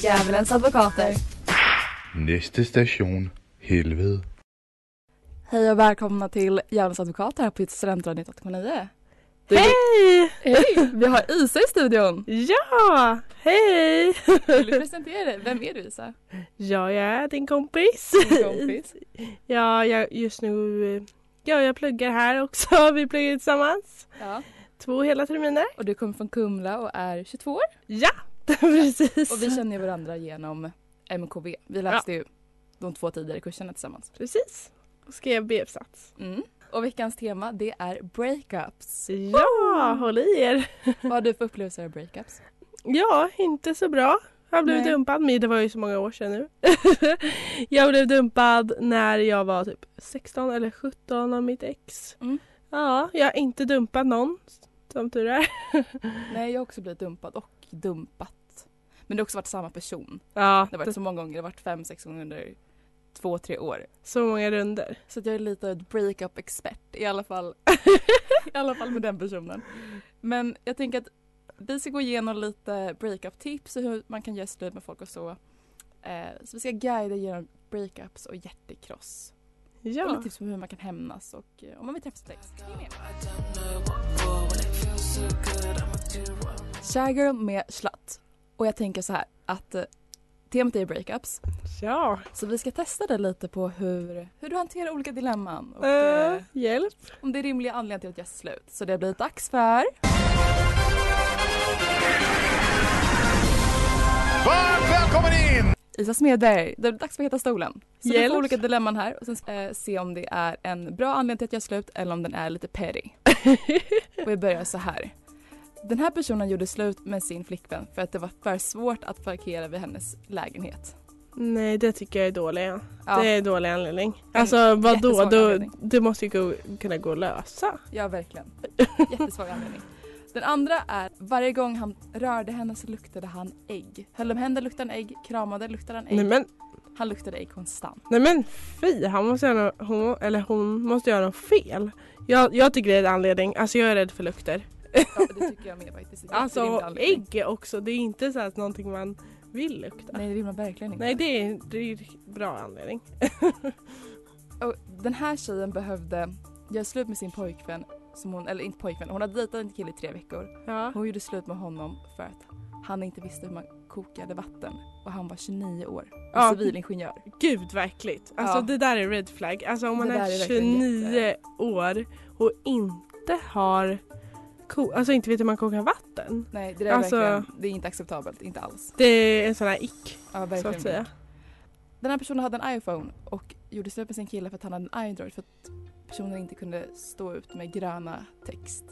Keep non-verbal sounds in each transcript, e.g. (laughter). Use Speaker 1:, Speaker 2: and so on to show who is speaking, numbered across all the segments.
Speaker 1: Djävulens advokater.
Speaker 2: Næste station, helvede.
Speaker 1: Hej och välkomna till Djävulens advokater här på Studentradion 98,9. Du-
Speaker 3: Hej!
Speaker 1: Hej! Vi har Isa i studion.
Speaker 3: Ja, hej!
Speaker 1: Vill du presentera dig? Vem är du Isa?
Speaker 3: Ja, jag är din kompis.
Speaker 1: Din kompis.
Speaker 3: Ja, jag, just nu... eh, Ja, jag pluggar här också. (laughs) Vi pluggar tillsammans.
Speaker 1: Ja.
Speaker 3: Två
Speaker 1: (laughs)
Speaker 3: hela terminer.
Speaker 1: Och du kommer från Kumla och är 22 år.
Speaker 3: Ja, precis.
Speaker 1: Och vi känner ju varandra genom MKV. Vi läste ju de två tidigare kurserna tillsammans.
Speaker 3: Precis. Och skrev B-uppsats.
Speaker 1: Mm. Och veckans tema det är breakups.
Speaker 3: Ja, håll i er.
Speaker 1: Vad har du för upplevelser av breakups?
Speaker 3: Ja, inte så bra. Jag blev
Speaker 1: Nej.
Speaker 3: dumpad, men det var ju så många år sedan nu. (laughs) jag blev dumpad när jag var typ 16 eller 17 av mitt ex.
Speaker 1: Mm.
Speaker 3: Ja, jag har inte dumpat någon, som tur är.
Speaker 1: Nej jag har också blivit dumpad och dumpat. Men det har också varit samma person.
Speaker 3: Ja,
Speaker 1: Det har varit så många gånger, det har varit fem, sex gånger under två, tre år.
Speaker 3: så många runder.
Speaker 1: Så att jag är lite av ett breakup-expert i alla fall. (laughs) I alla fall med den personen. Men jag tänker att vi ska gå igenom lite breakup-tips och hur man kan göra slut med folk och så. Eh, så vi ska guida genom breakups och hjärtekross.
Speaker 3: Ja.
Speaker 1: Och lite tips på hur man kan hämnas och eh, om man vill träffas på ex. Häng med. Shy Girl med Schlatt. Och jag tänker så här att eh, temat är breakups.
Speaker 3: Ja.
Speaker 1: Så vi ska testa det lite på hur, hur du hanterar olika dilemman och
Speaker 3: Eh,
Speaker 1: eh,
Speaker 3: hjälp.
Speaker 1: om det är rimliga anledningar till att jag är slut. Så det blir dags för...
Speaker 2: Varmt välkommen in!
Speaker 1: Isa Smedberg, det är dags för Heta stolen. Så du
Speaker 3: Hjälp.
Speaker 1: får olika dilemman här och sen eh, se om det är en bra anledning till att jag är slut eller om den är lite
Speaker 3: (laughs)
Speaker 1: petty. och jag börjar så här. Den här personen gjorde slut med sin flickvän för att det var för svårt att parkera vid hennes lägenhet.
Speaker 3: Nej, det tycker jag är dålig.
Speaker 1: Ja,
Speaker 3: Det är dålig anledning. Alltså vadå?
Speaker 1: jättesvag
Speaker 3: Du,
Speaker 1: anledning.
Speaker 3: du måste ju gå, kunna gå och lösa.
Speaker 1: ja
Speaker 3: (laughs)
Speaker 1: verkligen. Jättesvag anledning. Den andra är varje gång han rörde henne så luktade han ägg. Höll om händer luktade han ägg, kramade luktade han ägg.
Speaker 3: Nej men,
Speaker 1: Han luktade ägg
Speaker 3: (laughs)
Speaker 1: konstant.
Speaker 3: nej men fy, han måste göra något, hon, eller hon måste göra något fel. Jag, jag tycker det är en anledning, alltså jag är rädd för lukter.
Speaker 1: Ja, det tycker jag med faktiskt. Det är inte
Speaker 3: Alltså
Speaker 1: rimlig anledning.
Speaker 3: ägg också, det är inte så att någonting man vill lukta. Nej,
Speaker 1: Nej det rimmar verkligen inte.
Speaker 3: det, är, det är en bra anledning.
Speaker 1: Och den här tjejen behövde göra slut med sin pojkvän, som hon, eller inte pojkvän, hon hade dejtat en kille i tre veckor.
Speaker 3: Ja.
Speaker 1: Hon gjorde slut med honom för att han inte visste hur man kokade vatten och han var 29 år och
Speaker 3: Ja.
Speaker 1: civilingenjör.
Speaker 3: Gud vad äckligt. Alltså
Speaker 1: Ja.
Speaker 3: det där är red flag. Alltså om man
Speaker 1: Det där är
Speaker 3: är
Speaker 1: verkligen
Speaker 3: 29 år och inte har ko- alltså inte vet hur man kokar vatten.
Speaker 1: Nej det där är
Speaker 3: Alltså-
Speaker 1: verkligen, det är inte acceptabelt, inte alls.
Speaker 3: Det är en sån här ick
Speaker 1: Ja
Speaker 3: så
Speaker 1: verkligen.
Speaker 3: att säga.
Speaker 1: Den här personen hade en iPhone och gjorde slut med sin kille för att han hade en Android för att personen inte kunde stå ut med gröna text.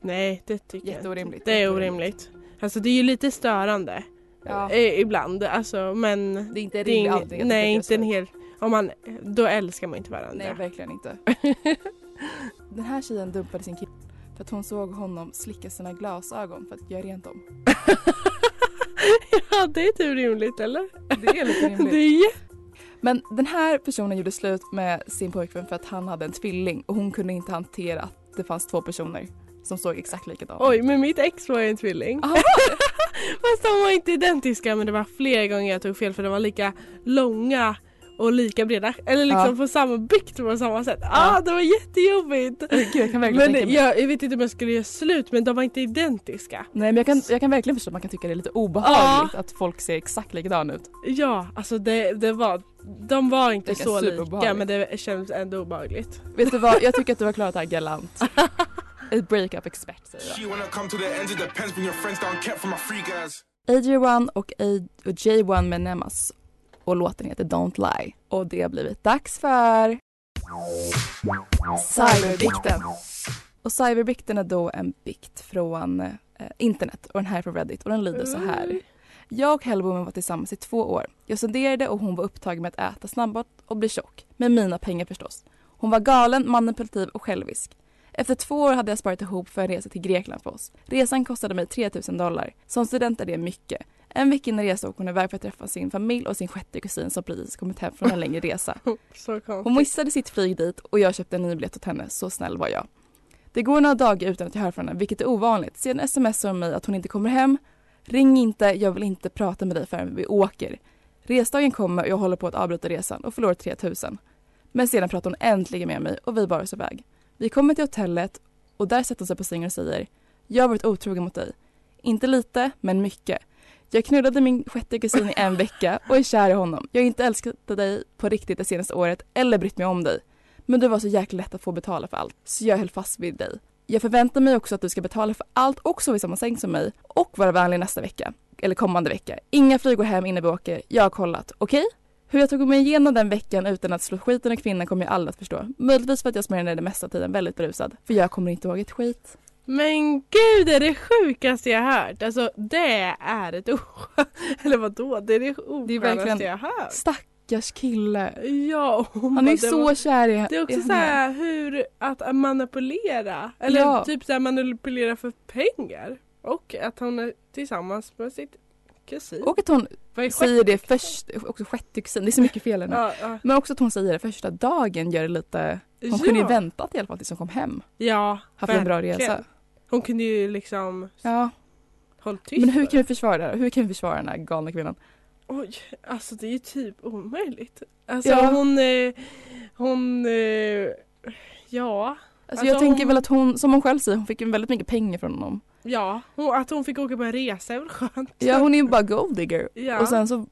Speaker 3: Nej det tycker jag inte.
Speaker 1: Jätteorimligt.
Speaker 3: Det är orimligt. Alltså det är ju lite störande
Speaker 1: Ja.
Speaker 3: eh, ibland alltså men
Speaker 1: Det är inte
Speaker 3: det är
Speaker 1: rimlig
Speaker 3: ingen-
Speaker 1: anledning. att
Speaker 3: Nej
Speaker 1: tycka
Speaker 3: inte en
Speaker 1: så.
Speaker 3: hel om man, då älskar man inte varandra. (laughs)
Speaker 1: Nej, verkligen inte. Den här tjejen dumpade sin kille för att hon såg honom slicka sina glasögon för att göra rent dem.
Speaker 3: ja det är typ rimligt eller?
Speaker 1: Det är lite
Speaker 3: (laughs) Det
Speaker 1: rimligt.
Speaker 3: är jätte-
Speaker 1: (laughs) Men den här personen gjorde slut med sin pojkvän för att han hade en tvilling och hon kunde inte hantera att det fanns två personer som såg exakt likadant.
Speaker 3: Oj men mitt ex var ju en tvilling.
Speaker 1: Ah, vad var det?
Speaker 3: (laughs) Fast de var inte identiska men det var flera gånger jag tog fel för de var lika långa och lika breda. Eller liksom
Speaker 1: Ja.
Speaker 3: på samma byggt på samma sätt. Ah, det var jättejobbigt!
Speaker 1: Gud, jag kan verkligen tänka
Speaker 3: Men
Speaker 1: mig.
Speaker 3: jag, jag vet inte om jag skulle göra slut men de var inte identiska.
Speaker 1: Nej men jag kan, jag kan verkligen förstå att man kan tycka det är lite obehagligt att folk ser exakt likadana ut.
Speaker 3: Ja, alltså det, det var, de var inte
Speaker 1: Vilken
Speaker 3: så lika
Speaker 1: superobehagligt.
Speaker 3: men det kändes ändå obehagligt.
Speaker 1: Vet du vad, jag tycker att du har klarat det här galant. Ett breakup-expert säger jag.
Speaker 4: She wanna come to the ends of the pens when your friends don't care for my free guys.
Speaker 1: AJ1 och, A- och J1 med Nemas och låten heter Don't Lie och det har blivit dags för Cyberbikten. Och cyberbikten är då en bikt från eh, internet och den här är från Reddit och den lyder så här. Jag och Hellboomen var tillsammans i två år. Jag studerade och hon var upptagen med att äta snabbmat och bli tjock. Med mina pengar förstås. Hon var galen, manipulativ och självisk. Efter två år hade jag sparat ihop för en resa till Grekland för oss. Resan kostade mig 3000 dollar. Som student är det mycket. En vecka innan resan åkte hon iväg för att träffa sin familj och sin sjätte kusin som precis kommit hem från en längre resa.
Speaker 3: (laughs) Så
Speaker 1: Hon
Speaker 3: konstigt.
Speaker 1: missade sitt flyg dit och jag köpte en ny biljett åt henne, så snäll var jag. Det går några dagar utan att jag hör från henne, vilket är ovanligt. Sedan smsar hon mig att hon inte kommer hem. Ring inte, jag vill inte prata med dig förrän vi åker. Resdagen kommer och jag håller på att avbryta resan och förlorar 3000. Men sedan pratar hon äntligen med mig och vi bara oss iväg. Vi kommer till hotellet och där sätter hon sig på sängen och säger Jag har varit otrogen mot dig. Inte lite, men mycket. Jag knullade min sjätte kusin i en vecka och är kär i honom. Jag har inte älskat dig på riktigt det senaste året eller brytt mig om dig. Men du var så jäkla lätt att få betala för allt, så jag höll fast vid dig. Jag förväntar mig också att du ska betala för allt och sova i samma säng som mig och vara vänlig nästa vecka. Eller kommande vecka. Inga flyg och hem innan vi åker. Jag har kollat. Okej? Hur jag tog mig igenom den veckan utan att slå skiten ur kvinnan kommer jag aldrig att förstå. Möjligtvis för att jag spenderade den mesta tiden väldigt berusad. För jag kommer inte ihåg ett skit.
Speaker 3: (laughs) Men gud, det är det sjukaste jag har hört. Alltså det är ett oskönt... (laughs) Eller vadå? Det är det oskönaste
Speaker 1: verkligen-
Speaker 3: jag har hört.
Speaker 1: Stackars kille.
Speaker 3: Ja, (laughs) hon
Speaker 1: Han är
Speaker 3: bara,
Speaker 1: ju
Speaker 3: det
Speaker 1: så
Speaker 3: var-
Speaker 1: kär i
Speaker 3: Det är också
Speaker 1: i
Speaker 3: så
Speaker 1: henne.
Speaker 3: här hur att manipulera. Eller
Speaker 1: Ja.
Speaker 3: typ så här manipulera för pengar. Och att hon är tillsammans med sitt kusin.
Speaker 1: Och att hon
Speaker 3: Vad är
Speaker 1: säger det först, också sjätte kusin, det är så mycket fel i henne.
Speaker 3: Ja, ja.
Speaker 1: Men också att hon säger det första dagen gör det lite, hon kunde ju väntat i alla fall tills hon kom hem.
Speaker 3: Ja,
Speaker 1: Haft en bra
Speaker 3: verkligen.
Speaker 1: resa.
Speaker 3: Hon kunde ju liksom
Speaker 1: Ja.
Speaker 3: hållit tyst.
Speaker 1: Men hur
Speaker 3: bara.
Speaker 1: kan vi försvara det här? Hur kan vi försvara den här galna kvinnan?
Speaker 3: Oj, alltså det är ju typ omöjligt. Alltså
Speaker 1: Ja.
Speaker 3: hon... Eh, hon... Eh, ja.
Speaker 1: Alltså, jag
Speaker 3: Alltså,
Speaker 1: tänker
Speaker 3: hon-
Speaker 1: väl att hon, som hon själv säger, hon fick ju väldigt mycket pengar från honom.
Speaker 3: Ja, hon, att hon fick åka på en resa är väl skönt.
Speaker 1: Ja hon är ju bara golddigger.
Speaker 3: Ja.
Speaker 1: Och sen så,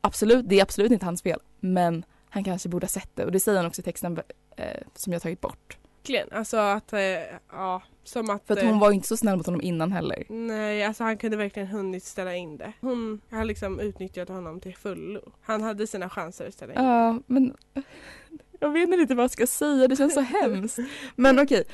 Speaker 1: absolut, det är absolut inte hans fel. Men han kanske borde ha sett det och det säger han också i texten eh, som jag tagit bort.
Speaker 3: Verkligen. Alltså att... Eh, ja, som att...
Speaker 1: För att
Speaker 3: eh,
Speaker 1: hon var ju inte så snäll mot honom innan heller.
Speaker 3: Nej, alltså han kunde verkligen hunnit ställa in det. Hon har liksom utnyttjat honom till fullo. Han hade sina chanser att ställa in det.
Speaker 1: Ja, men (laughs) jag vet inte vad jag ska säga, det känns så hemskt. Men okej,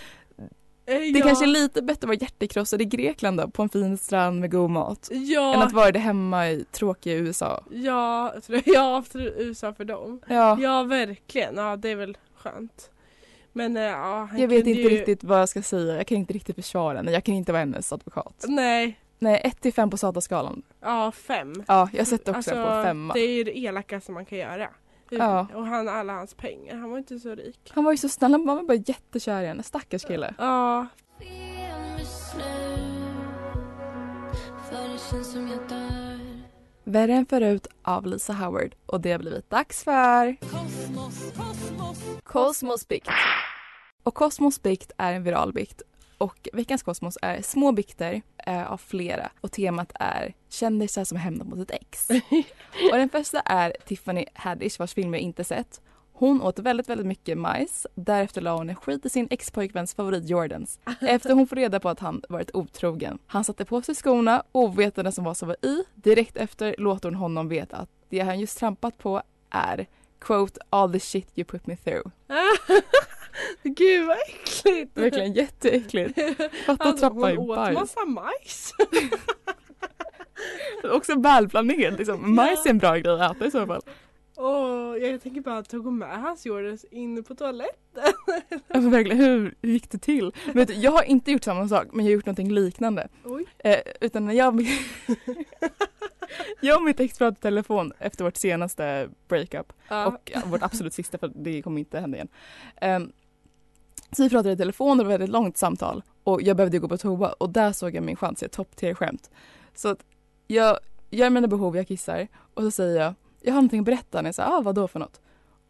Speaker 3: Eh,
Speaker 1: det
Speaker 3: ja.
Speaker 1: kanske är lite bättre att vara hjärtekrossad i Grekland då, på en fin strand med god mat. Än
Speaker 3: Ja,
Speaker 1: att vara det hemma i tråkiga USA.
Speaker 3: ja, jag tror- ja, absolut USA för dem.
Speaker 1: Ja,
Speaker 3: Ja, verkligen. Ja, det är väl skönt. Men eh, ja, han
Speaker 1: jag vet
Speaker 3: kunde
Speaker 1: inte
Speaker 3: ju...
Speaker 1: riktigt vad jag ska säga, jag kan inte riktigt försvara henne, jag kan inte vara hennes advokat.
Speaker 3: Nej,
Speaker 1: Nej, 1 till 5 på Sata-skalan.
Speaker 3: ja, fem.
Speaker 1: Ja, jag sätter också
Speaker 3: Alltså,
Speaker 1: den på femma.
Speaker 3: Det är ju det elakaste man kan göra.
Speaker 1: Ja.
Speaker 3: Och han alla hans pengar. Han var inte så rik.
Speaker 1: Han var ju så snäll, han var bara jättekär i henne, stackars kille.
Speaker 3: Ja, (laughs)
Speaker 5: Fel beslut, för det känns som jag dör.
Speaker 1: Värre än förut av Lisa Howard och det har blivit dags för Kosmos bikt. Och Kosmos bikt är en viral bikt och veckans Kosmos är små bikter eh, av flera och temat är kändisar som hämnar mot ett ex. och den första är Tiffany Haddish vars film jag inte sett. Hon åt väldigt, väldigt mycket majs. Därefter la hon en skit i sin ex-pojkväns favorit Jordans. Efter hon får reda på att han varit otrogen. Han satte på sig skorna, ovetande som vad som var i. Direkt efter låter hon honom veta att det han just trampat på är quote all the shit you put me through.
Speaker 3: gud vad äckligt.
Speaker 1: Verkligen jätteäckligt. Fatta att
Speaker 3: (laughs) Alltså,
Speaker 1: trappa
Speaker 3: hon
Speaker 1: i
Speaker 3: åt
Speaker 1: bajs. (laughs)
Speaker 3: massa majs.
Speaker 1: Också välplanerat liksom. Majs är en bra grej att äta i så fall.
Speaker 3: Åh, jag tänker bara, tog hon med hans Jordans in på toaletten?
Speaker 1: Alltså,
Speaker 3: (laughs)
Speaker 1: verkligen, hur gick det till? Vet du, jag har inte gjort samma sak men jag har gjort någonting liknande.
Speaker 3: Oj.
Speaker 1: Eh, utan när jag, (laughs) jag och mitt ex pratade i telefon efter vårt senaste breakup och ja, vårt absolut sista för det kommer inte hända igen. Ehm, så vi pratade i telefon och det var ett väldigt långt samtal och jag behövde gå på toa och där såg jag min chans till ett topp tier skämt. Så att jag gör mina behov, jag kissar och så säger jag jag har någonting att berätta. När jag säger ah, vad då för något?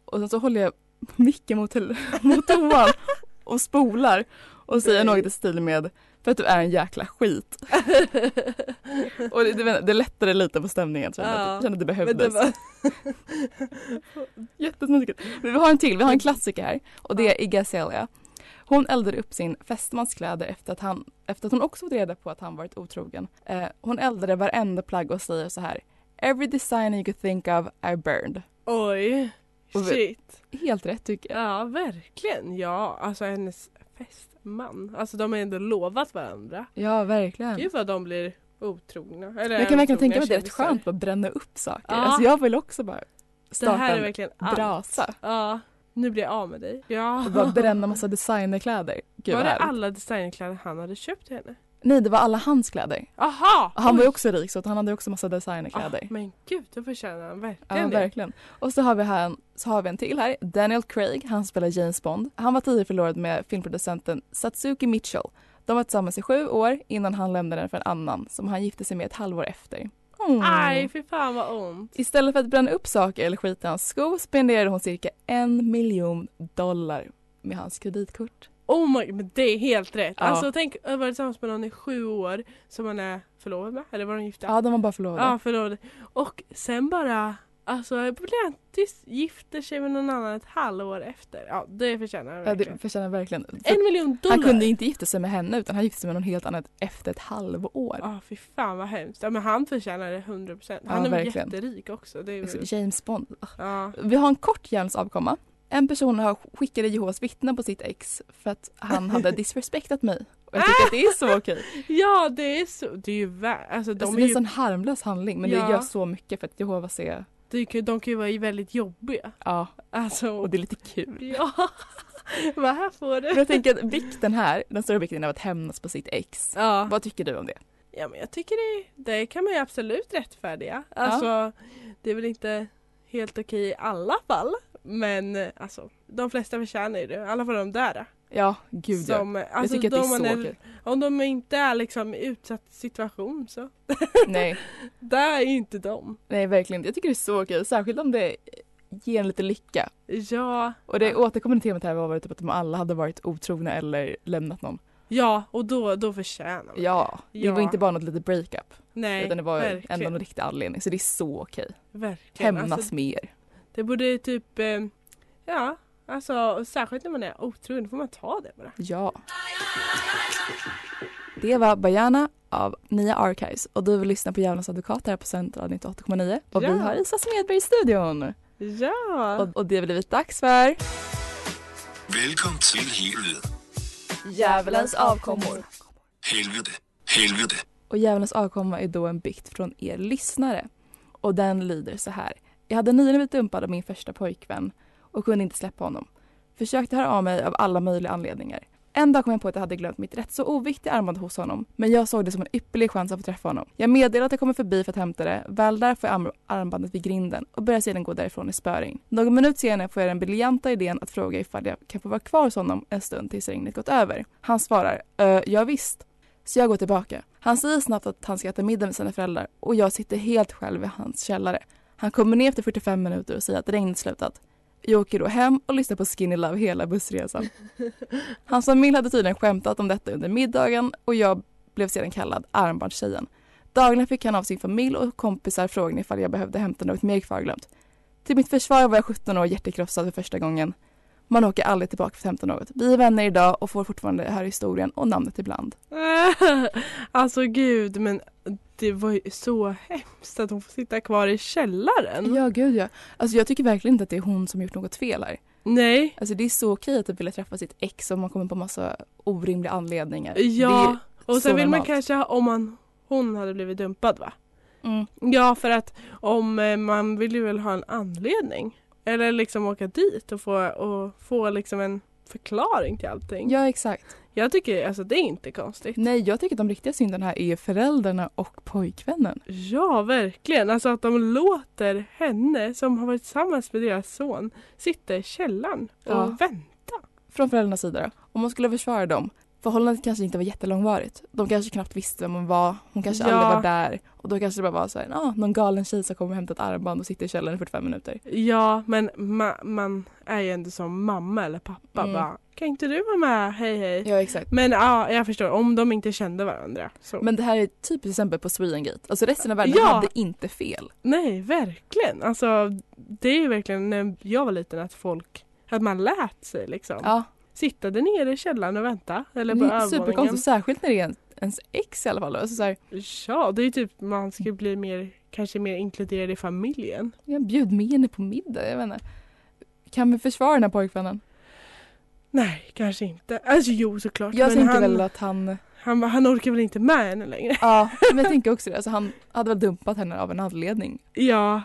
Speaker 1: Och sen så håller jag micken mot, tel- (laughs) mot toan och spolar och säger något i stil med för att du är en jäkla skit. Och det, det, det lättade lite på stämningen. Så jag kände att-
Speaker 3: Ja.
Speaker 1: jag kände att det
Speaker 3: Men
Speaker 1: behövdes.
Speaker 3: det var...
Speaker 1: Jättesnuskigt. Men vi har en till, vi har en klassiker här och det är Iggy Azalea. Hon eldade upp sin fästmans kläder efter att, han, efter att hon också fått reda på att han varit otrogen. Eh, hon eldade varenda plagg och säger så här Every design you could think of I burned.
Speaker 3: (laughs) Oj.
Speaker 1: Och vi-
Speaker 3: Shit.
Speaker 1: Helt rätt tycker jag.
Speaker 3: Ja, verkligen. Ja, alltså hennes fästman. Alltså de har ändå lovat varandra.
Speaker 1: Ja, verkligen.
Speaker 3: Gud vad de blir otrogna. Eller
Speaker 1: Jag kan verkligen
Speaker 3: otrogna
Speaker 1: tänka mig att det är rätt
Speaker 3: kändisar.
Speaker 1: skönt att bränna upp saker.
Speaker 3: Ja.
Speaker 1: Alltså jag vill också bara starta
Speaker 3: Det här är
Speaker 1: en
Speaker 3: verkligen allt.
Speaker 1: brasa
Speaker 3: Ja, nu blir jag av med dig. Ja. (laughs)
Speaker 1: och bara bränna massa designerkläder. Gud,
Speaker 3: var
Speaker 1: vad
Speaker 3: det
Speaker 1: härligt.
Speaker 3: alla designkläder han hade köpt till henne?
Speaker 1: Nej, det var alla hans kläder.
Speaker 3: Aha!
Speaker 1: Han var
Speaker 3: Oj.
Speaker 1: ju också rik så att han hade också massa designerkläder.
Speaker 3: Ah, men gud, då förtjänar han
Speaker 1: Ja,
Speaker 3: verkligen det.
Speaker 1: verkligen. Och så har, vi här, så har vi en till här, Daniel Craig, han spelar James Bond. Han var tidigare förlorad med filmproducenten Satsuki Mitchell. De var tillsammans i sju år innan han lämnade den för en annan som han gifte sig med ett halvår efter. Mm.
Speaker 3: Aj, fy fan vad ont.
Speaker 1: Istället för att bränna upp saker eller skita i hans skor spenderade hon cirka en miljon dollar med hans kreditkort.
Speaker 3: Oh my, men det är helt rätt.
Speaker 1: Ja.
Speaker 3: Alltså tänk att vara tillsammans med någon i sju år som man är förlovad med, eller var de gifta?
Speaker 1: Ja, de var bara förlovade.
Speaker 3: Ja, förlovade. Och sen bara, alltså Blantis gifter sig med någon annan ett halvår efter. Ja, det förtjänar han
Speaker 1: Ja,
Speaker 3: verkligen.
Speaker 1: det förtjänar verkligen. För
Speaker 3: En miljon dollar!
Speaker 1: han kunde ju inte gifta sig med henne utan han gifte sig med någon helt annat efter ett halvår.
Speaker 3: Ja, fy fan vad hemskt. Ja, men han förtjänar det 100 procent. Han
Speaker 1: Ja,
Speaker 3: är väl
Speaker 1: verkligen.
Speaker 3: jätterik också. Det är väl,
Speaker 1: Liksom, James Bond.
Speaker 3: ja.
Speaker 1: Vi har en kort Jens avkomma. En person har skickade Jehovas vittnen på sitt ex för att han
Speaker 3: (laughs)
Speaker 1: hade disrespektat mig. Och jag tycker att det är så okej.
Speaker 3: Ah! ja, det är så. Det är ju värt. Alltså, de,
Speaker 1: Alltså,
Speaker 3: är
Speaker 1: det är en
Speaker 3: ju,
Speaker 1: sån harmlös handling men
Speaker 3: Ja.
Speaker 1: det gör så mycket för att Jehovas är,
Speaker 3: de, kan- de kan ju vara väldigt jobbiga.
Speaker 1: ja,
Speaker 3: Alltså,
Speaker 1: och det är lite kul.
Speaker 3: Ja, (laughs) vad här
Speaker 1: Men
Speaker 3: får du.
Speaker 1: jag tänker att vikten här, den stora vikten av att hämnas på sitt ex.
Speaker 3: Ja.
Speaker 1: Vad tycker du om det?
Speaker 3: ja, men jag tycker det, det kan man ju absolut rättfärdiga. Alltså, det är väl inte helt okej i alla fall. Men eh, alltså, de flesta förtjänar ju det. I alla fall de där.
Speaker 1: Ja, gud ja.
Speaker 3: som,
Speaker 1: Jag
Speaker 3: alltså,
Speaker 1: tycker att det
Speaker 3: de man
Speaker 1: är så
Speaker 3: är,
Speaker 1: okej.
Speaker 3: Om de inte är liksom i utsatt situation så.
Speaker 1: Nej,
Speaker 3: Där är ju inte de.
Speaker 1: nej verkligen inte. Jag tycker det är så okej, särskilt om det ger en lite lycka.
Speaker 3: Ja,
Speaker 1: Och det återkommande temat här var typ att de alla hade varit otrogna eller lämnat någon.
Speaker 3: ja och då, då förtjänar man.
Speaker 1: Ja, det
Speaker 3: Ja.
Speaker 1: var inte bara något litet breakup.
Speaker 3: Nej,
Speaker 1: utan det var ändå
Speaker 3: verkligen.
Speaker 1: en riktig anledning. Så det är så okej.
Speaker 3: verkligen.
Speaker 1: Hämnas
Speaker 3: Alltså,
Speaker 1: mer.
Speaker 3: det borde ju typ, eh, ja, alltså särskilt när man är otrogen, då får man ta det bara.
Speaker 1: Ja. Det var Bajana av Nia Archives och du vill lyssna på Djävulens advokat här på Central 98,9 och
Speaker 3: Ja.
Speaker 1: vi har Isa Smedberg i studion.
Speaker 3: Ja!
Speaker 1: Och, och det har blivit dags för
Speaker 6: Velkommen til helvede.
Speaker 1: Djävulens avkommor.
Speaker 6: Helvede. Helvede.
Speaker 1: Och Djävulens avkomma är då en bikt från er lyssnare. Och den lyder så här. Jag hade nyligen blivit dumpad av min första pojkvän och kunde inte släppa honom. Försökte höra av mig av alla möjliga anledningar. En dag kom jag på att jag hade glömt mitt rätt så oviktiga armband hos honom men jag såg det som en ypperlig chans att få träffa honom. Jag meddelade att jag kommer förbi för att hämta det. Väl där får jag arm- armbandet vid grinden och börjar sedan gå därifrån i spöring. Någon minut senare får jag den briljanta idén att fråga ifall jag kan få vara kvar hos honom en stund tills regnet gått över. Han svarar äh, ja visst. Så jag går tillbaka. Han säger snabbt att han ska äta middag med sina föräldrar och jag sitter helt själv i hans källare. Han kommer ner efter 45 minuter och säger att regnet slutat. Jag åker då hem och lyssnar på Skinny Love hela bussresan. (laughs) Hans familj hade tydligen skämtat om detta under middagen och jag blev sedan kallad armbandstjejen. Dagligen fick han av sin familj och kompisar frågan ifall jag behövde hämta något mer kvarglömt. Till mitt försvar var jag 17 år och hjärtekrossad för första gången. Man åker aldrig tillbaka för att hämta något. Vi är vänner idag och får fortfarande höra historien och namnet ibland.
Speaker 3: alltså gud, men det var ju så hemskt att hon får sitta kvar i källaren.
Speaker 1: Ja, gud ja. Alltså jag tycker verkligen inte att det är hon som gjort något fel här.
Speaker 3: Nej,
Speaker 1: Alltså det är så okej att vilja träffa sitt ex om man kommer på massa orimliga anledningar.
Speaker 3: ja. Och
Speaker 1: så
Speaker 3: sen vill man
Speaker 1: normalt.
Speaker 3: kanske, ha- om man, hon hade blivit dumpad va?
Speaker 1: Det, mm,
Speaker 3: Ja, för att om eh, man vill ju väl ha en anledning. Eller liksom åka dit och få, och få liksom en förklaring till allting.
Speaker 1: ja, exakt.
Speaker 3: Jag tycker alltså det är inte konstigt.
Speaker 1: Nej, jag tycker att de riktiga synderna här är föräldrarna och pojkvännen.
Speaker 3: Ja, verkligen. Alltså att de låter henne som har varit tillsammans med deras son sitta i källaren och
Speaker 1: Ja.
Speaker 3: vänta.
Speaker 1: Från föräldrarnas sida då. Om man skulle försvara dem. Förhållandet kanske inte var jättelångvarigt. De kanske knappt visste vem hon var. Hon kanske
Speaker 3: Ja.
Speaker 1: aldrig var där. Och då kanske det bara var så här, ah, någon galen tjej som kommer och hämtar ett armband och sitter i källaren i 45 minuter.
Speaker 3: Ja, men ma- man är ju ändå som mamma eller pappa
Speaker 1: Mm.
Speaker 3: bara Kan inte du vara med? Hej hej.
Speaker 1: Ja, exakt.
Speaker 3: Men ja, jag förstår. Om de inte kände varandra. Så.
Speaker 1: äh, Men det här är ett typiskt exempel på Swedengate. Alltså resten av världen
Speaker 3: äh, Ja.
Speaker 1: hade inte fel.
Speaker 3: Nej, verkligen. Alltså det är ju verkligen när jag var liten att folk att man lät sig liksom.
Speaker 1: Ja,
Speaker 3: Sitta där nere i källaren och vänta. Eller på
Speaker 1: det är
Speaker 3: övervåningen.
Speaker 1: superkonstigt. Särskilt när det är en- ens ex i alla fall. Alltså så här,
Speaker 3: Ja, det är ju typ man ska bli mer, kanske mer inkluderad i familjen.
Speaker 1: jag bjöd med henne på middag. Jag vet inte. Kan vi försvara den här pojkvännen?
Speaker 3: Nej, kanske inte. Alltså jo såklart.
Speaker 1: Jag
Speaker 3: men
Speaker 1: tänker
Speaker 3: han,
Speaker 1: väl att han,
Speaker 3: han, han orkar väl inte med henne längre. (laughs)
Speaker 1: ja, (laughs) men jag tänker också det. Alltså han hade väl dumpat henne av en anledning.
Speaker 3: Ja,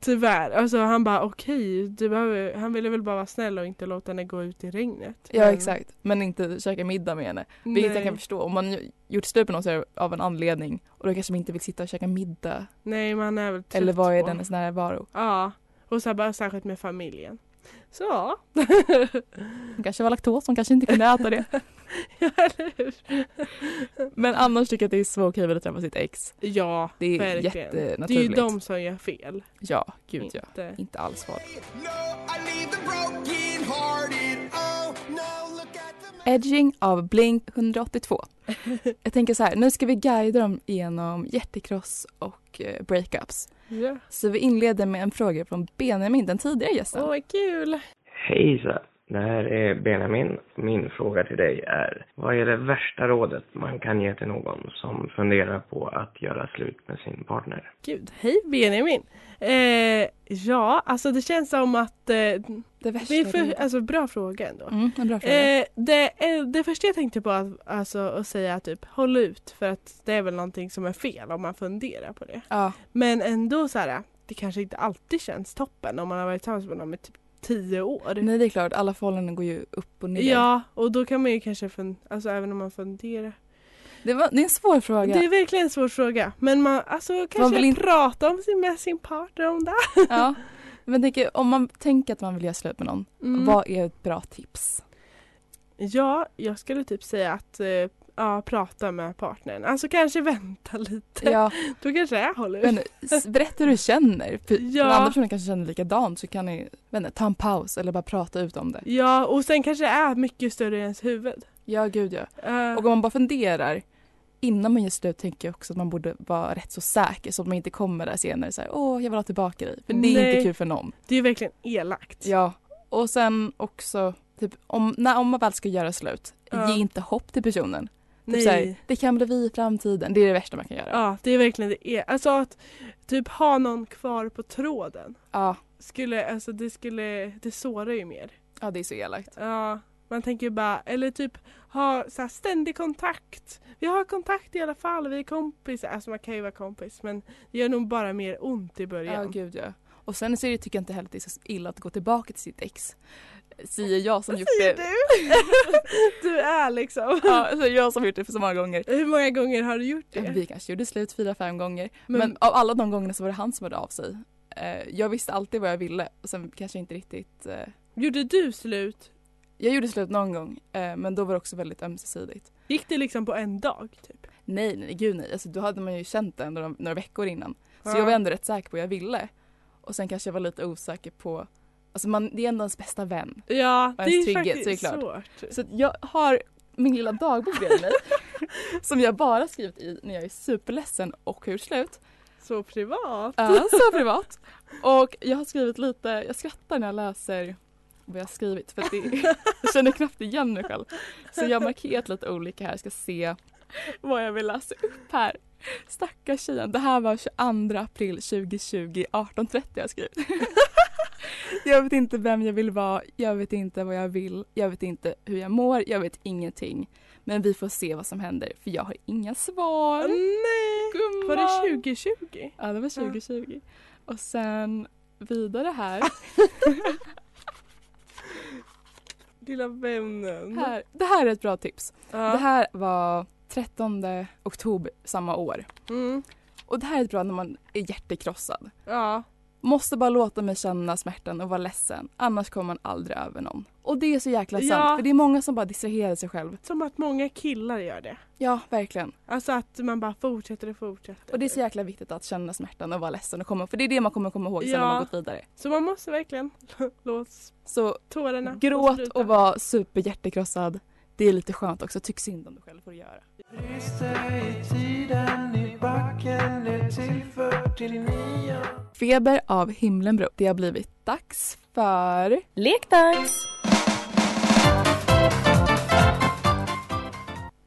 Speaker 3: tyvärr. Alltså han bara okej, du behöver, han ville väl bara vara snäll och inte låta henne gå ut i regnet.
Speaker 1: Ja
Speaker 3: Men-
Speaker 1: exakt, men inte käka middag med henne. Vilket
Speaker 3: nej,
Speaker 1: jag kan förstå, om man ju- gjort slut med någon så är det av en anledning och då kanske man inte vill sitta och käka middag
Speaker 3: Nej, man är väl trött
Speaker 1: eller vad är
Speaker 3: på.
Speaker 1: dennes närvaro.
Speaker 3: Ja, och så här bara särskilt med familjen.
Speaker 1: (laughs)
Speaker 3: Så ja.
Speaker 1: Hon kanske var laktos, hon kanske inte kunde äta
Speaker 3: (laughs)
Speaker 1: det.
Speaker 3: Ja, eller hur?
Speaker 1: Men annars tycker jag att det är så okej att träffa sitt ex.
Speaker 3: Ja,
Speaker 1: Det är
Speaker 3: verkligen. Det är ju
Speaker 1: jättenaturligt.
Speaker 3: de som gör fel.
Speaker 1: Ja, gud ja.
Speaker 3: Inte.
Speaker 1: Inte alls farligt.
Speaker 4: Oh,
Speaker 1: Edging av Blink
Speaker 3: (laughs)
Speaker 1: 182. Jag tänker så här, nu ska vi guida dem genom hjärtekross och eh, breakups.
Speaker 3: Ja.
Speaker 1: Så vi inleder med en fråga från Benjamin, den tidigare gästen.
Speaker 3: Åh, vad kul!
Speaker 7: Hejsan! Det här är Benjamin. Min fråga till dig är, vad är det värsta rådet man kan ge till någon som funderar på att göra slut med sin partner?
Speaker 3: Gud, hej Benjamin! Eh, ja, alltså det känns som att... Eh,
Speaker 1: Det värsta
Speaker 3: det är för,
Speaker 1: rådet.
Speaker 3: alltså bra fråga ändå.
Speaker 1: Mm, en bra fråga.
Speaker 3: Eh, det, eh, det första jag tänkte på att, alltså, att säga typ håll ut för att det är väl någonting som är fel om man funderar på det.
Speaker 1: ja,
Speaker 3: Men ändå så här, det kanske inte alltid känns toppen om man har varit tillsammans med någon i typ tio år.
Speaker 1: nej det är klart, alla förhållanden går ju upp och ner.
Speaker 3: Ja, och då kan man ju kanske fun- alltså även om man funderar.
Speaker 1: Det, var, det är en svår fråga.
Speaker 3: Det är verkligen en svår fråga. Men man alltså kanske
Speaker 1: vill inte-
Speaker 3: prata om sin, med sin partner om det.
Speaker 1: Ja. Men jag tänker, om man tänker att man vill göra slut med någon,
Speaker 3: Mm.
Speaker 1: vad är ett bra
Speaker 3: (laughs)
Speaker 1: tips?
Speaker 3: Ja, jag skulle typ säga att eh, ja, prata med partnern. Alltså kanske vänta lite.
Speaker 1: Ja,
Speaker 3: Då kanske jag håller ut.
Speaker 1: men s- berätta hur du känner. För
Speaker 3: Ja.
Speaker 1: för andra personer kanske känner likadant så kan ni vänta, ta en paus eller bara prata ut om det.
Speaker 3: Ja, och sen kanske det är mycket större än ens huvud.
Speaker 1: Ja, gud ja.
Speaker 3: Eh,
Speaker 1: Och om man bara funderar innan man gör slut tänker jag också att man borde vara rätt så säker så att man inte kommer där senare så här, åh, jag vill ha tillbaka dig. För det är
Speaker 3: Nej.
Speaker 1: inte kul för någon.
Speaker 3: det är ju verkligen elakt.
Speaker 1: Ja, och sen också typ om, när, om man väl ska göra slut,
Speaker 3: Ja.
Speaker 1: ge inte hopp till personen. Typ
Speaker 3: Nej.
Speaker 1: så här, det kan bli vi i framtiden, det är det värsta man kan göra.
Speaker 3: Ja, det är verkligen det. Är. Alltså att typ ha någon kvar på tråden.
Speaker 1: Ja,
Speaker 3: Skulle, alltså det skulle, det sårar ju mer.
Speaker 1: ja det är så elakt.
Speaker 3: Ja, man tänker ju bara, eller typ ha så här ständig kontakt. Vi har kontakt i alla fall, vi är kompisar. Alltså man kan ju vara kompis men det gör nog bara mer ont i
Speaker 1: Ja,
Speaker 3: början.
Speaker 1: gud ja. Och sen så är det, tycker jag inte heller att det är så illa att gå tillbaka till sitt ex. Eh, Säger jag som gjort
Speaker 3: Säger
Speaker 1: det.
Speaker 3: du? du (laughs) är liksom.
Speaker 1: Ja, så jag som gjort det för så många gånger.
Speaker 3: Hur många gånger har du gjort det?
Speaker 1: Vi kanske gjorde slut fyra, fem gånger. Men,
Speaker 3: Men-
Speaker 1: av alla de gångerna så var det han som hörde av sig. Eh, Jag visste alltid vad jag ville och sen kanske inte riktigt... eh,
Speaker 3: Gjorde du slut?
Speaker 1: Jag gjorde slut någon gång eh, men då var det också väldigt ömsesidigt.
Speaker 3: Gick det liksom på en dag? Typ?
Speaker 1: Nej, nej, gud nej. Alltså, då hade man ju känt det några, några veckor innan. Så
Speaker 3: Ja.
Speaker 1: jag var ändå rätt säker på vad jag ville. Och sen kanske jag var lite osäker på, alltså man, det är ändå ens bästa vän.
Speaker 3: Ja, det
Speaker 1: ens
Speaker 3: är
Speaker 1: trygghet,
Speaker 3: faktiskt
Speaker 1: så är det klart.
Speaker 3: svårt.
Speaker 1: Så att jag har min lilla dagbok bredvid
Speaker 3: (laughs)
Speaker 1: mig. som jag bara skrivit i när jag är superledsen och hur slut.
Speaker 3: Så privat.
Speaker 1: Ja, så privat. Och jag har skrivit lite, jag skrattar när jag läser vad jag har skrivit för att det, jag känner knappt igen mig själv. Så jag har markerat lite olika här, jag ska se vad jag vill läsa upp här. Stackars tjejen, det här var 22 april 2020 18.30 har jag skrivit. Jag vet inte vem jag vill vara, jag vet inte vad jag vill, jag vet inte hur jag mår, jag vet ingenting. Men vi får se vad som händer för jag har inga svar.
Speaker 3: Nej!
Speaker 1: Gumman.
Speaker 3: Var det 2020?
Speaker 1: Ja, det var 2020. Och sen vidare här.
Speaker 3: Ah, Lilla vännen.
Speaker 1: här. Det här är ett bra tips.
Speaker 3: mm. Ja.
Speaker 1: Det här var 13 oktober samma år.
Speaker 3: Mm.
Speaker 1: Och det här är ett bra när man är hjärtekrossad.
Speaker 3: ja.
Speaker 1: Måste bara låta mig känna smärtan och vara ledsen. Annars kommer man aldrig över någon. Och det är så jäkla sant.
Speaker 3: Ja.
Speaker 1: För det är många som bara distraherar sig själv.
Speaker 3: Som att många killar gör det.
Speaker 1: Ja, verkligen.
Speaker 3: Alltså att man bara fortsätter och fortsätter.
Speaker 1: Och det är så jäkla viktigt att känna smärtan och vara ledsen och komma. För det är det man kommer komma ihåg sen
Speaker 3: Ja.
Speaker 1: när man gått vidare.
Speaker 3: Så man måste verkligen (laughs) låta
Speaker 1: Så
Speaker 3: tårarna få
Speaker 1: gråt
Speaker 3: spruta.
Speaker 1: och var superhjärtekrossad. Det är lite skönt också. Tyck synd om dig själv för att göra. Feber av Himlenbro. Det har blivit dags för
Speaker 8: Lekdags!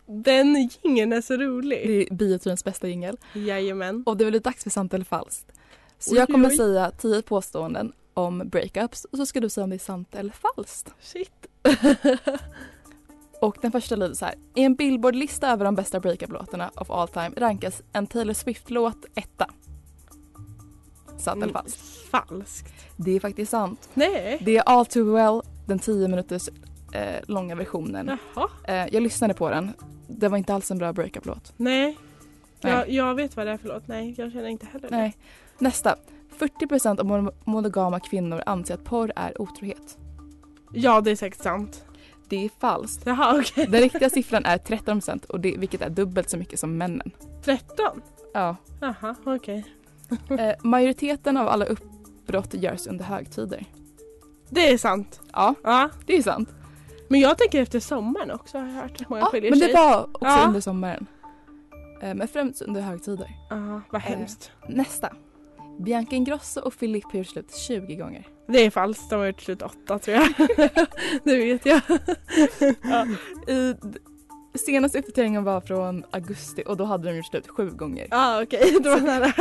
Speaker 3: Den gingen är så rolig.
Speaker 1: det är bioturens bästa jingel
Speaker 3: Jajamän.
Speaker 1: och det är väl dags för sant eller falskt. Så
Speaker 3: Oj,
Speaker 1: jag kommer
Speaker 3: oj.
Speaker 1: säga tio påståenden om breakups och så ska du säga om det är sant eller
Speaker 3: (laughs)
Speaker 1: falskt.
Speaker 3: Shit.
Speaker 1: Och den första lyder så här. I en Billboard-lista över de bästa breakup-låtarna of all time rankas en Taylor Swift-låt etta. Sant eller
Speaker 3: Mm,
Speaker 1: falskt?
Speaker 3: Falskt.
Speaker 1: Det är faktiskt sant.
Speaker 3: Nej.
Speaker 1: Det är All Too Well, den 10 minuters eh, långa
Speaker 3: (laughs)
Speaker 1: versionen.
Speaker 3: Jaha.
Speaker 1: Eh, jag lyssnade på den. Det var inte alls en bra breakup-låt.
Speaker 3: Nej.
Speaker 1: Nej.
Speaker 3: Jag, jag vet vad det är för låt. Nej, jag känner inte heller
Speaker 1: Nej. Nästa. 40 av mon- monogama kvinnor anser att porr är otrohet.
Speaker 3: det. Ja, det är säkert sant.
Speaker 1: Det är falskt.
Speaker 3: Jaha, okej.
Speaker 1: Den riktiga siffran är 13 och det, vilket är dubbelt så mycket som männen.
Speaker 3: 13?
Speaker 1: Ja.
Speaker 3: Jaha, okej.
Speaker 1: Eh, majoriteten av alla uppbrott görs under högtider.
Speaker 3: Det är sant.
Speaker 1: Ja,
Speaker 3: Ja.
Speaker 1: det är sant.
Speaker 3: Men jag tänker efter sommaren också har jag hört att många
Speaker 1: Ja,
Speaker 3: skiljer
Speaker 1: men
Speaker 3: sig.
Speaker 1: det var också
Speaker 3: Ja.
Speaker 1: under sommaren. Eh, men främst under högtider.
Speaker 3: Ja, vad
Speaker 1: Eh.
Speaker 3: hemskt.
Speaker 1: Nästa. Bianca Ingrosso och Filip har gjort slut 20 gånger.
Speaker 3: Det är falskt. De har gjort slut åtta tror jag. (laughs) det vet jag.
Speaker 1: I, d- senaste uppdateringen var från augusti och då hade de gjort slut 7 gånger.
Speaker 3: Ja, okej.
Speaker 1: (laughs)
Speaker 3: Det var nära.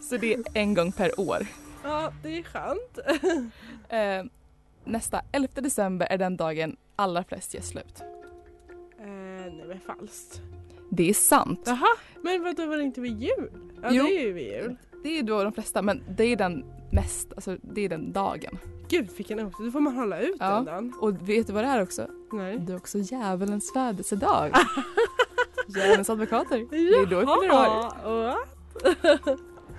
Speaker 1: Så det är en gång per år.
Speaker 3: Ja, det är skönt.
Speaker 1: Eh, nästa. 11 december är den dagen allra flest gör slut.
Speaker 3: Eh, nej, men falskt.
Speaker 1: Det är sant.
Speaker 3: Jaha, men vadå var det inte vid jul? Ja,
Speaker 1: Jo.
Speaker 3: det är ju vid jul.
Speaker 1: Det är då de flesta, men det är den mest, alltså det är den dagen.
Speaker 3: Gud vilken otur, då får man hålla ut
Speaker 1: Ja.
Speaker 3: den dagen.
Speaker 1: Och vet du vad det är också?
Speaker 3: Nej.
Speaker 1: Det är också djävulens födelsedag. Djävulens advokater. Det är då vi fyller år.
Speaker 3: Jaha, va?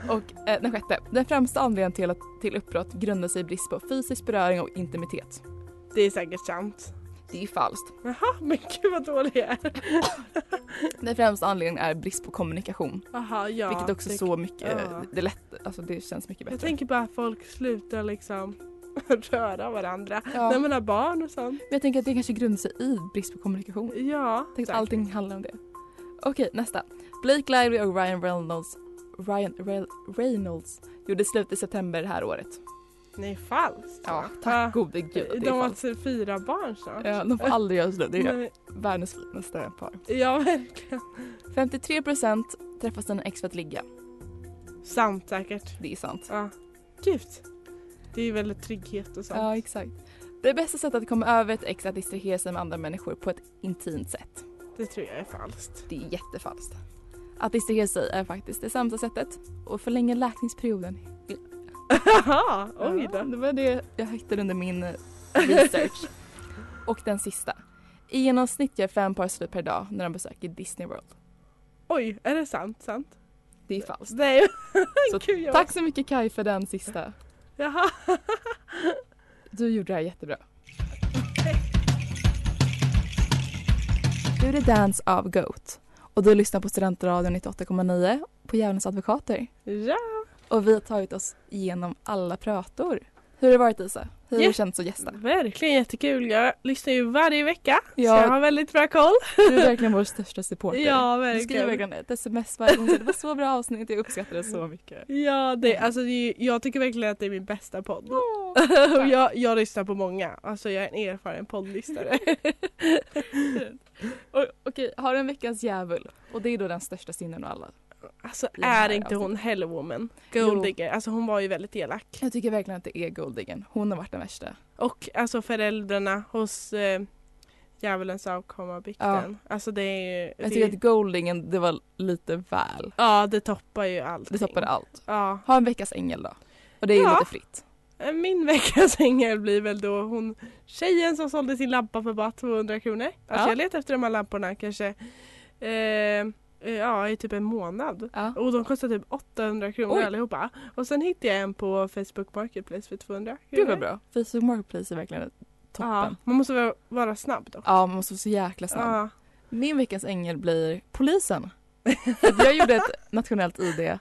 Speaker 1: Och eh, den sjätte. Den främsta anledningen till, att, till uppbrott grundar sig i brist på fysisk beröring och intimitet.
Speaker 3: Det är säkert sant.
Speaker 1: Det är falskt.
Speaker 3: Jaha, men gud vad dålig jag är.
Speaker 1: Den främsta anledningen är brist på kommunikation.
Speaker 3: Jaha, ja.
Speaker 1: vilket också
Speaker 3: det-
Speaker 1: så mycket,
Speaker 3: ja.
Speaker 1: det är lätt, alltså det känns mycket bättre.
Speaker 3: Jag tänker bara att folk slutar liksom (laughs) röra varandra
Speaker 1: Ja.
Speaker 3: när man har barn och sånt.
Speaker 1: Men jag tänker att det kanske grundar sig i brist på kommunikation.
Speaker 3: Ja.
Speaker 1: Tänk att
Speaker 3: säkert.
Speaker 1: allting handlar om det. Okej, nästa. Blake Lively och Ryan Reynolds, Ryan Re- Reynolds gjorde slut i september det här året.
Speaker 3: Nej, falskt.
Speaker 1: Ja,
Speaker 3: Ja.
Speaker 1: tack gode gud att det
Speaker 3: Ah. De
Speaker 1: är
Speaker 3: har
Speaker 1: falskt.
Speaker 3: alltså fyra barn snart.
Speaker 1: Ja, de får aldrig göra slut. Det är
Speaker 3: Nej,
Speaker 1: världens finaste par.
Speaker 3: ja verkligen.
Speaker 1: 53 procent träffas en ex för att ligga.
Speaker 3: Sant säkert.
Speaker 1: Det är sant.
Speaker 3: Ja. Gud. Det är ju väldigt trygghet och sånt.
Speaker 1: Ja, exakt. Det bästa sättet att komma över ett ex är att distrahera sig med andra människor på ett intimt sätt.
Speaker 3: Det tror jag är falskt.
Speaker 1: Det är jättefalskt. Att distrahera sig är faktiskt det sämsta sättet och förlänga
Speaker 3: (laughs)
Speaker 1: läkningsperioden.
Speaker 3: Jaha, oj
Speaker 1: Ja,
Speaker 3: då.
Speaker 1: det var det jag hittade under min eh,
Speaker 3: (laughs)
Speaker 1: research. och den sista. I genomsnitt gör fem par slut per dag när de besöker Disney World.
Speaker 3: Oj, är det sant? Sant?
Speaker 1: Det är falskt.
Speaker 3: Nej.
Speaker 1: Så
Speaker 3: (laughs) Gud, jag...
Speaker 1: tack så mycket Kai för den sista.
Speaker 3: Jaha. (laughs)
Speaker 1: Du gjorde det här jättebra. Du är The Dance av Goat och du lyssnar på Studentradion 98,9 på Djävulens advokater.
Speaker 3: Ja.
Speaker 1: Och vi har tagit oss igenom alla prator. Hur har det varit Isa? Hur har
Speaker 3: Ja.
Speaker 1: det känts att gästa?
Speaker 3: Verkligen jättekul. Jag lyssnar ju varje vecka.
Speaker 1: Ja.
Speaker 3: Så jag har väldigt bra koll.
Speaker 1: Du är
Speaker 3: (laughs)
Speaker 1: verkligen vår största supporter.
Speaker 3: Ja,
Speaker 1: Du skriver
Speaker 3: verkligen. Mm.
Speaker 1: verkligen ett sms varje gång. så Det var så bra avsnitt, jag uppskattar det så mycket.
Speaker 3: Ja, det, alltså, det är, ju- jag tycker verkligen att det är min bästa podd. Och (laughs) jag, jag lyssnar på många. Alltså jag är en
Speaker 1: (laughs)
Speaker 3: erfaren poddlyssnare.
Speaker 1: Och, Okej, har du en veckans djävul? Och det är då den största synden av alla.
Speaker 3: Alltså
Speaker 1: Det här
Speaker 3: är inte hon Hellwoman?
Speaker 1: Jo.
Speaker 3: Gold digger. Alltså hon var ju väldigt elak.
Speaker 1: Jag tycker verkligen att det är Goldigen. Hon har varit den värsta.
Speaker 3: Och alltså föräldrarna hos eh, Djävulens avkomma bikten. Alltså det är ju...
Speaker 1: Jag
Speaker 3: det,
Speaker 1: tycker att Goldingen, det var lite väl.
Speaker 3: Ja det toppar ju allt.
Speaker 1: Det toppade allt.
Speaker 3: Ja.
Speaker 1: Ha en veckas ängel då. Och det är ju
Speaker 3: Ja.
Speaker 1: lite fritt.
Speaker 3: Min (laughs) veckans ängel blir väl då hon tjejen som sålde sin lampa för bara 200 kronor. Alltså
Speaker 1: Ja.
Speaker 3: jag letar efter de här lamporna kanske eh, eh, ja, i typ en månad.
Speaker 1: Ja.
Speaker 3: Och de kostar typ 800 kronor
Speaker 1: Oj.
Speaker 3: allihopa. Och sen hittade jag en på Facebook Marketplace för 200 kronor.
Speaker 1: Gud vad bra. Facebook Marketplace är verkligen
Speaker 3: Ja,
Speaker 1: toppen.
Speaker 3: man måste vara, vara snabb dock.
Speaker 1: Ja, man måste vara så jäkla snabb.
Speaker 3: Ja.
Speaker 1: Min veckans ängel blir polisen. För att jag gjorde
Speaker 3: (laughs)
Speaker 1: ett nationellt ID eh,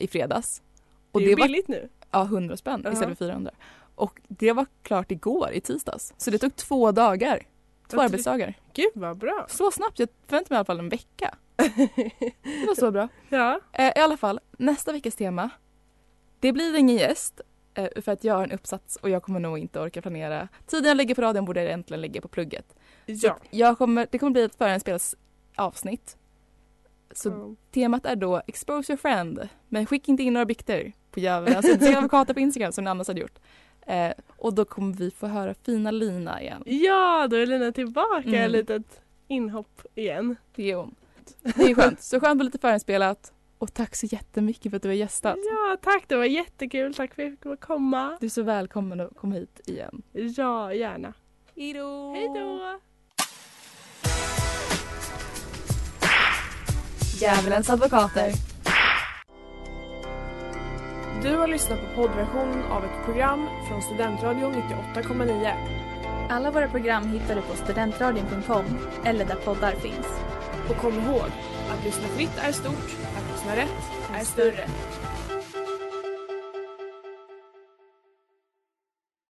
Speaker 1: i fredags.
Speaker 3: Det
Speaker 1: Och
Speaker 3: är ju
Speaker 1: det var
Speaker 3: billigt nu.
Speaker 1: ja, 100 spänn
Speaker 3: Ja.
Speaker 1: istället för 400. Och det var klart igår i tisdags. Så det tog två dagar. Två
Speaker 3: Jag
Speaker 1: arbetsdagar.
Speaker 3: Gud vad bra.
Speaker 1: Så snabbt. Jag förväntade mig i alla fall en
Speaker 3: (laughs)
Speaker 1: vecka. Det var så bra.
Speaker 3: ja.
Speaker 1: Eh, I alla fall, nästa veckas tema. Det blir ingen gäst. eh, För att jag har en uppsats och jag kommer nog inte orka planera. Tiden jag lägger på radion borde jag egentligen lägga på plugget.
Speaker 3: ja.
Speaker 1: Jag kommer, det kommer bli ett förinspelat avsnitt. Så
Speaker 3: Ja. Mm.
Speaker 1: temat är då Expose your friend, men skicka inte in några bikter. på Gävle, alltså tre advokater på Instagram som ni annars hade gjort. Eh, och då kommer vi få höra fina Lina igen.
Speaker 3: Ja, då är Lina tillbaka.
Speaker 1: Mm.
Speaker 3: Ett litet inhopp igen.
Speaker 1: Det är hon. Det är skönt. Så skönt med lite förinspelat. Och tack så jättemycket för att du har gästat.
Speaker 3: Ja, tack. Det var jättekul. Tack för att jag fick komma.
Speaker 1: Du är så välkommen att komma hit igen.
Speaker 3: Ja, gärna.
Speaker 1: Hejdå!
Speaker 3: Hej då!
Speaker 1: Djävulens advokater.
Speaker 9: Du har lyssnat på poddversionen av ett program från Studentradion 98,9.
Speaker 8: Alla våra program hittar du på studentradion.com eller där poddar finns.
Speaker 9: Och kom ihåg, att lyssna fritt är stort, att lyssna rätt är större.